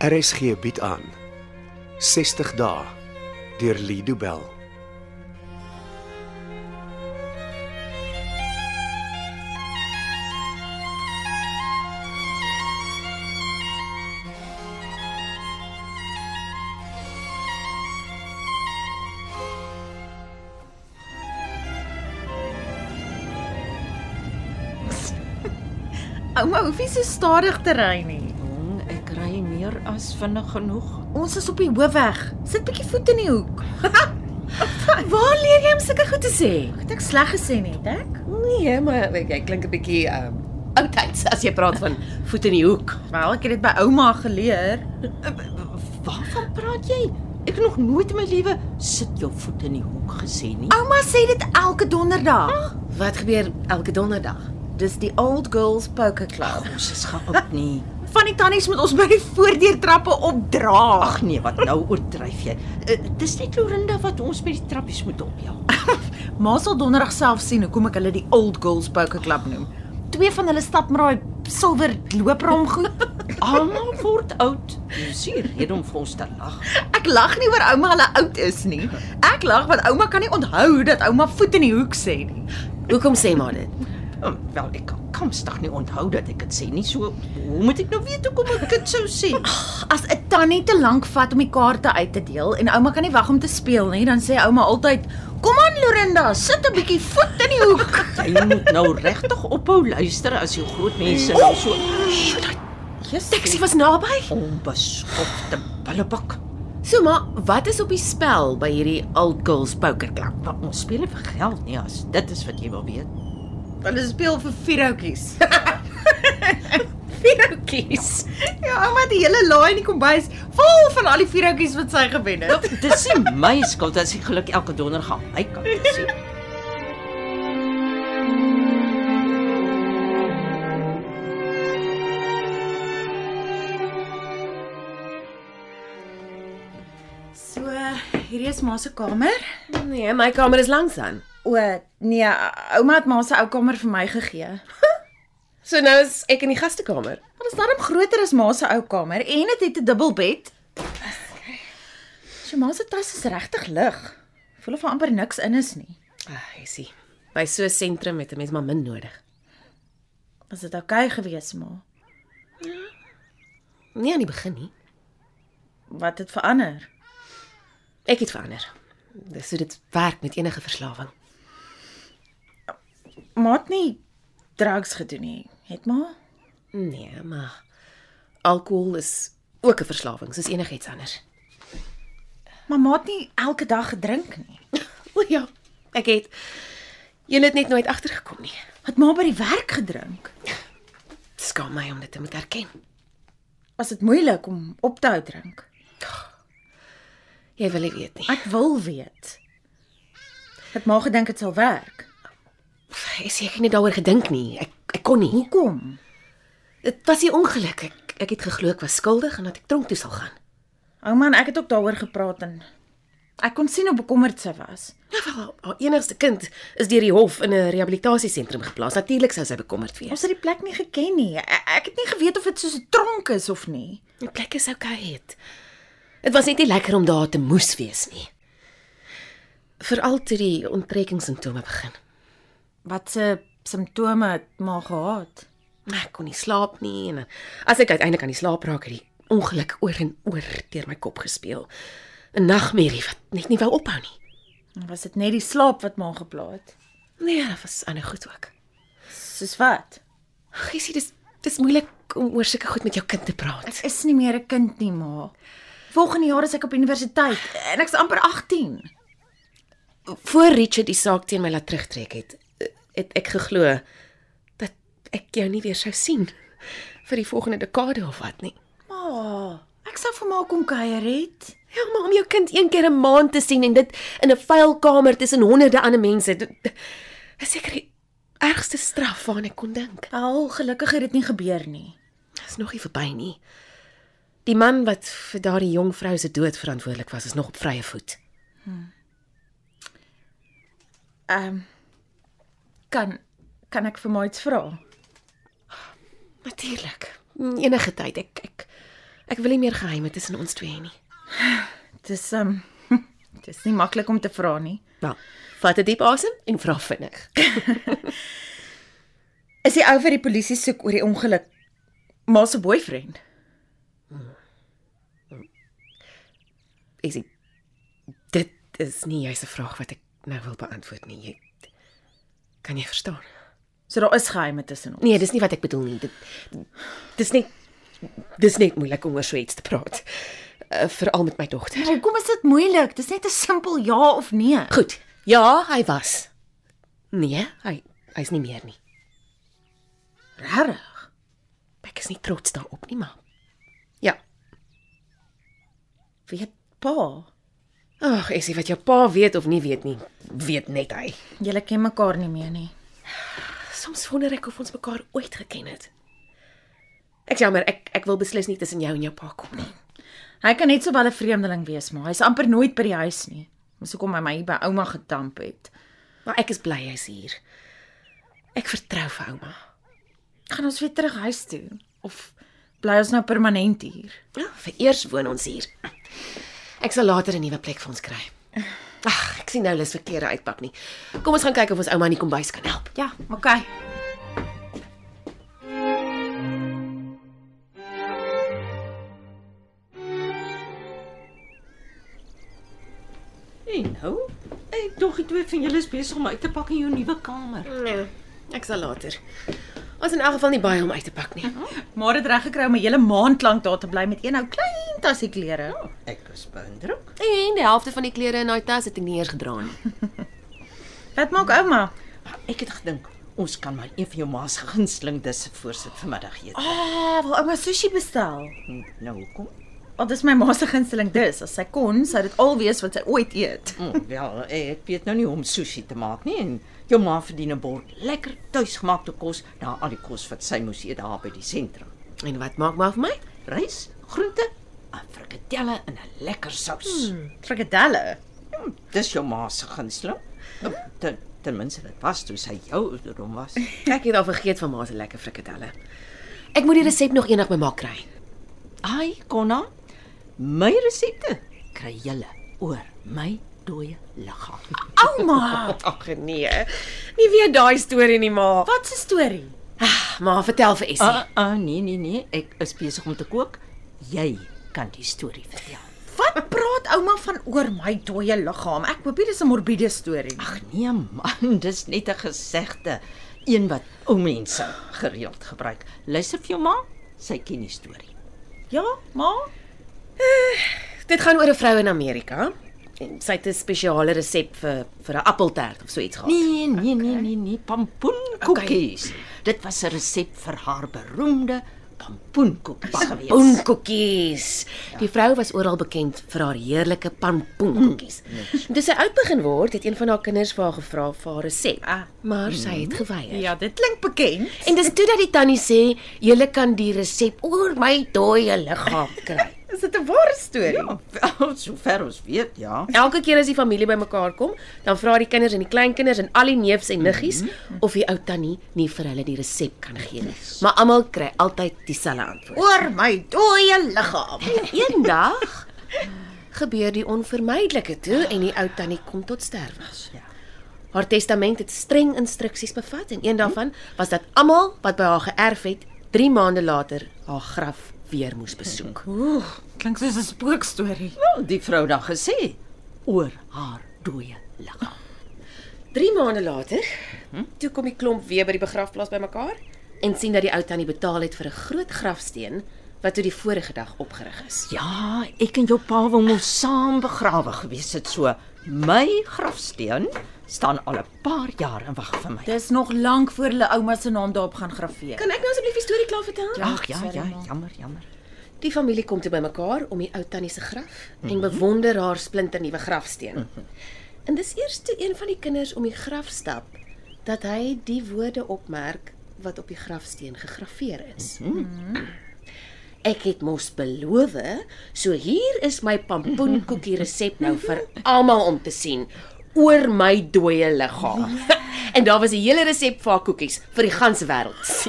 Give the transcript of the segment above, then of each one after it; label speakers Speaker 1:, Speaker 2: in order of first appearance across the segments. Speaker 1: RSG bied aan 60 dae deur Lido Bell.
Speaker 2: Ouma, hoef nie so stadig te ry nie.
Speaker 3: Jong, ek ry meer as vinnig genoeg.
Speaker 2: Ons is op die hoofweg. Sit bietjie voet in die hoek. Waar leer jy om sulke goed te sê? Het ek sleg gesê net, ek?
Speaker 3: Nee, maar ek, ek klink 'n bietjie um oudtyds as jy praat van voet in die hoek.
Speaker 2: Wel, ek het dit by ouma geleer.
Speaker 3: Waarvan praat jy? Ek het nog nooit in my lewe sit jou voet in die hoek gesê nie.
Speaker 2: Ouma sê dit elke donderdag.
Speaker 3: Wat gebeur elke donderdag?
Speaker 2: Ah. Dis die Old Girls Poker Club.
Speaker 3: Ons is geop nie.
Speaker 2: Van die tannies moet ons by die voordeurtrappe opdra.
Speaker 3: Ag nee, wat nou oortryf jy? Eh, Dis net Lorinda wat ons met die trappies moet ophelp.
Speaker 2: Ma sal donderdag self sien hoekom ek hulle die Old Girls Poker Club noem. Twee van hulle stap maar daai silwer looprom goed.
Speaker 3: Almal word oud. Dis hier rede om vir ons te lag.
Speaker 2: Ek lag nie oor ouma hulle oud is nie. Ek lag want ouma kan nie onthou dat ouma voet in die hoek sê nie.
Speaker 4: Hoekom sê maar dit?
Speaker 3: Oh, wel, ek kan kamstig nie onthou dat ek dit sê nie. So, hoe moet ek nou weet hoekom ek dit sou sê?
Speaker 2: As 'n tannie te lank vat om die kaarte uit te deel en ouma kan nie wag om te speel nie, dan sê ouma altyd: "Kom aan Lorinda, sit 'n bietjie voet in die hoek."
Speaker 3: Jy moet nou regtig ophou luister as jy groot mense nou so
Speaker 2: Jesus.
Speaker 4: Taxi was naby.
Speaker 3: onbeskofte bullebak.
Speaker 4: So maar, wat is op die spel by hierdie Old Girls Poker Club?
Speaker 3: Wat ons speel nie vir geld nie as dit is wat jy wil weet.
Speaker 2: Hulle speel vir vierhoutjies.
Speaker 4: Vierhoutjies.
Speaker 2: Ja, ouma het die hele laai in die kombuis vol van al die vierhoutjies wat sy gewen het.
Speaker 3: Nou, Dis nie my skuld as ek geluk elke donderdag aan my kant is nie.
Speaker 2: So, hierdie is ma se kamer.
Speaker 4: Nee, my kamer is langs aan.
Speaker 2: O, nee, ouma het ma se ou kamer vir my gegee.
Speaker 4: So nou is ek in die gastekamer.
Speaker 2: Maar dit is darm groter as ma se ou kamer en dit het 'n dubbelbed. Sy ma se tas is regtig lig. Voel of daar amper niks in is nie.
Speaker 4: Ag, jy sien. Ah, By so 'n sentrum het 'n mens maar min nodig.
Speaker 2: Was dit oukei okay geweest, ma?
Speaker 4: Nie aan die begin nie.
Speaker 2: Wat het verander?
Speaker 4: Ek het verander. Dis hoe dit werk met enige verslawing.
Speaker 2: Ma het nie drugs gedoen nie, het ma?
Speaker 4: Nee, maar alkohol is ook 'n verslawing, soos enigiets anders.
Speaker 2: Maar ma het nie elke dag gedrink nie.
Speaker 4: O ja, ek het jy het net nooit agtergekom nie.
Speaker 2: Het ma by die werk gedrink?
Speaker 4: Dit skaam my om dit te moet erken.
Speaker 2: Was dit moeilik om op te hou drink?
Speaker 4: Jy wil nie weet nie.
Speaker 2: Ek wil weet. Het ma gedink dit sal werk?
Speaker 4: Ek seker nie daaroor gedink nie. Ek ek kon nie.
Speaker 2: Hoekom?
Speaker 4: Dit was 'n ongeluk. Ek ek het geglo ek was skuldig en dat ek tronk toe sal gaan.
Speaker 2: Ouma en ek het ook daaroor gepraat en ek kon sien hoe bekommerd sy was.
Speaker 4: Nou wel, haar- haar enigste kind is deur die hof in 'n rehabilitasiesentrum geplaas. Natuurlik sou sy bekommerd wees.
Speaker 2: Ons het die plek nie geken nie. Ek, ek het nie geweet of dit soos 'n tronk is of nie.
Speaker 4: Die plek is okay het. Dit was net nie lekker om daar te moes wees nie. Veral toe die onttrekkingssimptome begin.
Speaker 2: Wat se simptome het maar gehad?
Speaker 4: Ek kon nie slaap nie en dan- as ek uiteindelik aan die slaap raak het die ongeluk oor en oor deur my kop gespeel. 'n Nagmerrie wat net nie wou ophou nie.
Speaker 2: Was dit net die slaap wat maar geplaat?
Speaker 4: Nee, dit was ander goed ook.
Speaker 2: Soos wat?
Speaker 4: Gisie, dis dis moeilik om oor sulke goed met jou kind te praat.
Speaker 2: Is nie meer 'n kind nie, ma. Volgende jaar is ek op universiteit en ek's amper 18.
Speaker 4: Voor Richard die saak teen my laat terugtrek het, het ek geglo dat ek jou nie weer sou sien vir die volgende dekade of wat nie.
Speaker 2: Ma, ek sou vir ma kom kuier het.
Speaker 4: Ja, maar om jou kind een keer 'n maand te sien en dit in 'n vuil kamer tussen honderde ander mense, dit dit is seker die ergste straf waaraan ek kon dink.
Speaker 2: Al gelukkig het dit nie gebeur nie.
Speaker 4: Dit is nog nie verby nie. Die man wat vir daardie jong vrou se dood verantwoordelik was, is nog op vrye voet.
Speaker 2: Ehm um, kan kan ek vir ma iets vra?
Speaker 4: Natuurlik. Enige tyd ek ek Ek wil nie meer geheime tussen ons twee hê nie.
Speaker 2: Dis ehm um, dis nie maklik om te vra nie.
Speaker 4: Wel, Nou, vat 'n diep asem en vra vinnig.
Speaker 2: Is die ou vir die polisie soek oor die ongeluk maar se boyfriend?
Speaker 4: Is dit dit is nie jy's 'n vraag wat ek nou wil beantwoord nie. Jy kan jy verstaan?
Speaker 2: So daar is geheime tussen ons.
Speaker 4: Nee, dis nie wat ek bedoel nie. Dit dis net dis net moeilik om oor so iets te praat. Uh, Veral met my dogter.
Speaker 2: Nee, Hoekom is dit moeilik? Dis net 'n simpel ja of nee.
Speaker 4: Goed. Ja, hy was. Nee, hy hy's nie meer nie.
Speaker 2: Regtig?
Speaker 4: Ek is nie trots daarop nie, maar. Ja.
Speaker 2: Weet pa,
Speaker 4: Ag, Essie, wat jou pa weet of nie weet nie, weet net hy.
Speaker 2: julle ken mekaar nie meer nie.
Speaker 4: Soms wonder ek of ons mekaar ooit geken het. Ek jammer, ek ek wil beslis nie tussen jou en jou pa kom nie.
Speaker 2: Hy kan net sowel 'n vreemdeling wees, maar hy's amper nooit by die huis nie. Dis hoekom hy my hier by ouma gedamp het.
Speaker 4: Maar ek is bly hy's hier. Ek vertrou vir ouma.
Speaker 2: Gaan ons weer terug huis toe of bly ons nou permanent hier?
Speaker 4: Ja, vir eers woon ons hier. Ek sal later 'n nuwe plek vir ons kry. Ag, ek sien nou lus vir klere uitpak nie. Kom ons gaan kyk of ons ouma in die kombuis kan help.
Speaker 2: Ja, okay.
Speaker 3: En nou, ek dog die twee van julle is besig om uit te pak in jou nuwe kamer.
Speaker 4: Nee, ek sal later. Ons in elk geval nie baie om uit te pak nie.
Speaker 2: Maar dit reg gekry om 'n hele maand lank daar te bly met een ou klein tasie klere.
Speaker 3: Ek is beïndruk.
Speaker 4: En die helfte van die klere in daai tas het ek nie eers gedra nie.
Speaker 2: Wat maak ouma?
Speaker 3: Ek het gedink ons kan maar een van jou ma se gunsteling disse voorsit vir middagete.
Speaker 2: Ah, wil ouma sushi bestel.
Speaker 3: Nou kom.
Speaker 2: Al dis my ma se gunsteling dis. As sy kon, sou dit al wees wat sy ooit eet.
Speaker 3: Mm, wel, ek weet nou nie hoe om sushi te maak nie en jou ma verdien 'n bord lekker tuisgemaakte kos na al die kos wat sy moes eet daar by die sentrum.
Speaker 4: En wat maak maar vir my?
Speaker 3: Rys, groente, en frikadelle in 'n lekker sous. Mm.
Speaker 2: Frikadelle.
Speaker 3: Dis jou ma se gunsteling. Nou, Ten, ten minste dit was toe sy jou ouderdom was.
Speaker 4: Ek het al vergeet van ma se lekker frikadelle. Ek moet die resep nog eendag by ma kry.
Speaker 3: Ai, Konna, my resepte kry julle oor my dooie liggaam.
Speaker 2: Ouma,
Speaker 4: Ag nee. Nie weer daai storie nie, ma.
Speaker 2: wat 'n storie.
Speaker 4: Ah, ma, vertel vir Essie.
Speaker 3: Ah, ah, nee nee nee, ek is besig om te kook. Jy kan die storie vertel.
Speaker 2: Wat praat ouma van oor my dooie liggaam? Ek hoop nie dis 'n morbiede storie nie.
Speaker 3: Ag nee man, dis net 'n gesegde, een wat ou mense gereeld gebruik. Luister vir jou ma, sy ken die storie.
Speaker 2: Ja, ma.
Speaker 4: Dit gaan oor 'n vrou in Amerika. En sy het 'n spesiale resep vir vir 'n appeltert of so iets gehad.
Speaker 3: Nee, nee, nee, nee, nee, pampoenkoekies. Okay. Dit was 'n resep vir haar beroemde pampoenkoekies gewees.
Speaker 4: Pampoenkoekies. Die vrou was oral bekend vir haar heerlike pampoenkoekies. Toe sy oud begin word, het een van haar kinders vir haar gevra vir haar resep,
Speaker 2: Ah.
Speaker 4: maar sy het geweier.
Speaker 2: Ja, dit klink bekend.
Speaker 4: En dis toe dat die tannie sê, "Julle kan die resep oor my dooie liggaam kry."
Speaker 2: Is dit 'n ware storie?
Speaker 3: Ja, wel, sover ons weet, ja.
Speaker 4: Elke keer as die familie bymekaar kom, dan vra die kinders en die kleinkinders en al die neefs en niggies mm -hmm. of die ou tannie nie vir hulle die resep kan gee nie. Maar almal kry altyd dieselfde antwoord.
Speaker 2: Oor my dooie liggaam.
Speaker 4: Eendag gebeur die onvermydelike toe en die ou tannie kom tot sterwe.
Speaker 3: Ja.
Speaker 4: Haar testament het streng instruksies bevat en een daarvan was dat almal wat by haar geërf het, 3 maande later haar graf weer moes besoek.
Speaker 2: Ooh, klink soos 'n spookstorie.
Speaker 3: Wel, Oh, die vrou dan gesê oor haar dooie liggaam.
Speaker 4: 3 maande later, toe kom die klomp weer by die begrafplaas bymekaar Hm? en sien dat die ou tannie betaal het vir 'n groot grafsteen wat toe die vorige dag opgerig is.
Speaker 3: Ja, ek en jou pa wou mos saam begrawe gewees het so. My grafsteen staan al 'n paar jaar en wag vir my.
Speaker 2: Dis nog lank voor hulle ouma se naam daarop gaan graweer.
Speaker 4: Kan ek nou asseblief die storie klaar vertel?
Speaker 3: Ag ja,
Speaker 2: sorry,
Speaker 3: ja,
Speaker 2: ma.
Speaker 3: jammer, jammer.
Speaker 4: Die familie kom toe bymekaar om die ou tannie se graf en bewonder haar splinternuwe grafsteen. En dis eers toe een van die kinders om die graf stap dat hy die woorde opmerk wat op die grafsteen gegraveer is. Mhm. Ek het mos beloof, so hier is my pampoenkoekie resep nou vir almal om te sien oor my Ja. dooie liggaam. en daar was 'n hele resep vir haar koekies vir die ganse wêreld.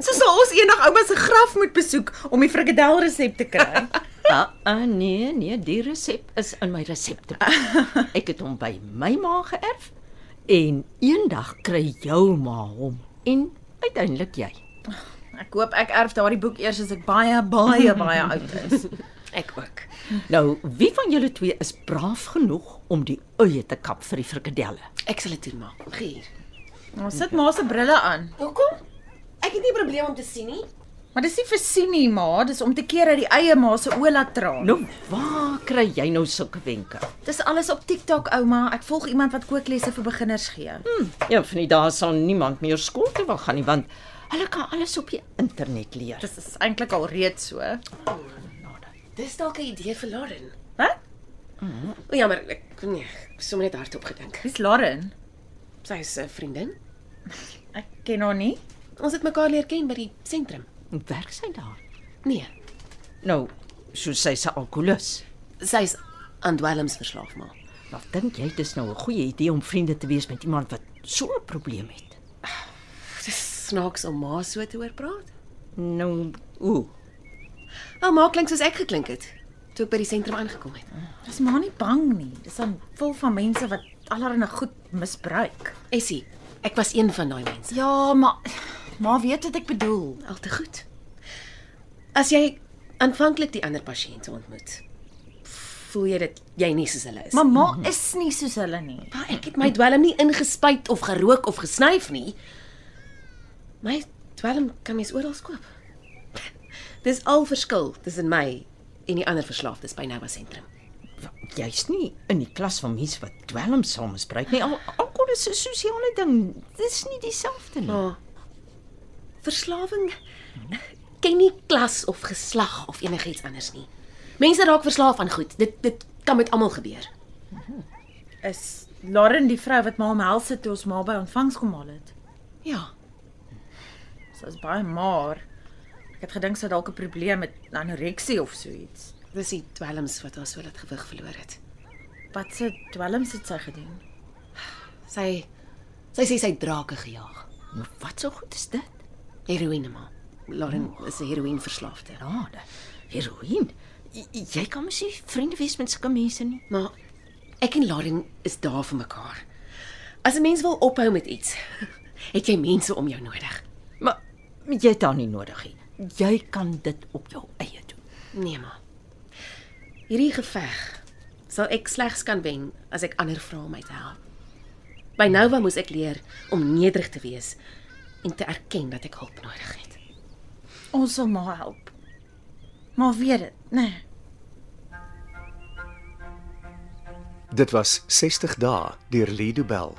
Speaker 2: So sal ons eendag ouma se graf moet besoek om die frikadel resep te kry.
Speaker 3: Ah, ah nee, nee, die resep is in my resepteboek. Ek het hom by my ma geërf en eendag kry jou ma hom en uiteindelik jy.
Speaker 2: Ek hoop ek erf daardie boek eers as ek baie baie baie oud is.
Speaker 4: Ek ook.
Speaker 3: Nou, wie van julle twee is braaf genoeg om die eie te kap vir die frikadelle?
Speaker 4: Ek sal dit doen maar. Gier.
Speaker 2: Ons sit maar se brille aan.
Speaker 4: Hoekom? Ek het nie 'n probleem om te sien nie.
Speaker 2: Maar dis nie vir sien nie, ma, dis om te keer uit die eie ma se oë laat traan.
Speaker 3: Nou, waar kry jy nou sulke wenke?
Speaker 2: Dis alles op TikTok, ouma. Ek volg iemand wat kooklesse vir beginners gee.
Speaker 3: Ja, van die dae sal niemand meer skool toe wil gaan nie want hulle kan alles op die internet leer.
Speaker 2: Dis is eintlik al reeds so.
Speaker 4: Dis dalk 'n idee vir Lauren.
Speaker 2: Wat?
Speaker 4: O jammer, ek nee, ek het sommer net hardop gedink.
Speaker 2: Wie's Lauren?
Speaker 4: Sy is 'n vriendin.
Speaker 2: Ek ken haar nie.
Speaker 4: Ons het mekaar leer ken by die sentrum.
Speaker 3: Werk sy daar?
Speaker 4: Nee,
Speaker 3: Nou, soos sy se alkolikus.
Speaker 4: sy is aan dwelms verslaaf maar.
Speaker 3: Wat dink jy dis nou 'n goeie idee om vriende te wees met iemand wat so 'n probleem het?
Speaker 4: Dis snaaks om ma so te hoor praat.
Speaker 3: Nou, ooh,
Speaker 4: Wel, ma klink soos ek geklink het toe ek by die sentrum aangekom het.
Speaker 2: Dis maar nie bang nie. Dis aan vol van mense wat allerlei goed misbruik.
Speaker 4: Essie, ek was een van daai mense.
Speaker 2: Ja, maar maar weet wat ek bedoel.
Speaker 4: Al te goed. As jy aanvanklik die ander pasiënte ontmoet, voel jy dat jy nie soos hulle is. nie.
Speaker 2: Mamma is nie soos hulle nie.
Speaker 4: Maar ek het my dwelm nie ingespuit of gerook of gesnyf nie. My dwelm kan mens oral koop. Dis al verskil tussen my en die ander verslaafdes by Nova sentrum.
Speaker 3: jy's nie in die klas van mense wat dwelms saam misbruik nie. Al alkohol is 'n sosiale ding. Dis nie dieselfde nie.
Speaker 4: Maar verslawing ken nie klas of geslag of enigiets anders nie. Mense raak verslaaf aan goed. Dit dit kan met almal gebeur.
Speaker 2: Is Lauren die vrou wat ma omhels het toe ons ma by ontvangs kom haal het?
Speaker 4: Ja,
Speaker 2: Sy is baie maar. Ek het gedink sy het dalk 'n probleem met anoreksie of so iets.
Speaker 4: dis die dwelms wat haar so laat gewig verloor het.
Speaker 2: Wat se dwelms het sy gedoen?
Speaker 4: Sy sy sê sy het drake gejaag.
Speaker 3: Maar wat so goed is dit?
Speaker 4: Heroïne maar. Lauren is 'n heroïneverslaafde.
Speaker 3: Ja, da- heroïne. J- Jy kan mos nie vriende wees met sulke mense nie.
Speaker 4: Maar ek en Lauren is daar vir mekaar. As 'n mens wil ophou met iets, het jy mense om jou nodig.
Speaker 3: Maar jy het dit nie nodig nie. Jy kan dit op jou eie doen.
Speaker 4: Nee maar. Hierdie geveg sal ek slegs kan wen as ek ander vra om my te help. By Nova moes ek leer om nederig te wees en te erken dat ek hulp nodig het.
Speaker 2: Ons sal ma help. Maar weet dit, né? Nee.
Speaker 1: Dit was 60 dae deur Lido Bell.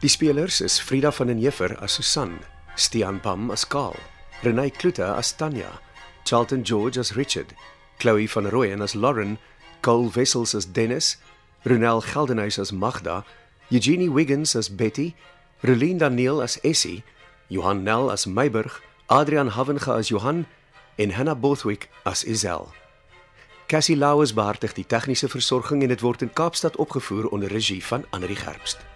Speaker 1: Die spelers is Frida van den Heever as Susan, Stean Pam as Karl, Renay Klute as Tanya, Charlton George as Richard, Chloe van Rooyen as Lauren, Cole Wessels as Dennis, Ronel Geldenhuys as Magda, Eugenie Wiggins as Betty, Relien Daniel as Essie, Johan Nel as Meiburg, Adrian Havenga as Johan en Hannah Bothwick as Isel. Cassie Lauers behartig die tegniese versorging en dit word in Kaapstad opgevoer onder regie van Anri Gerbst.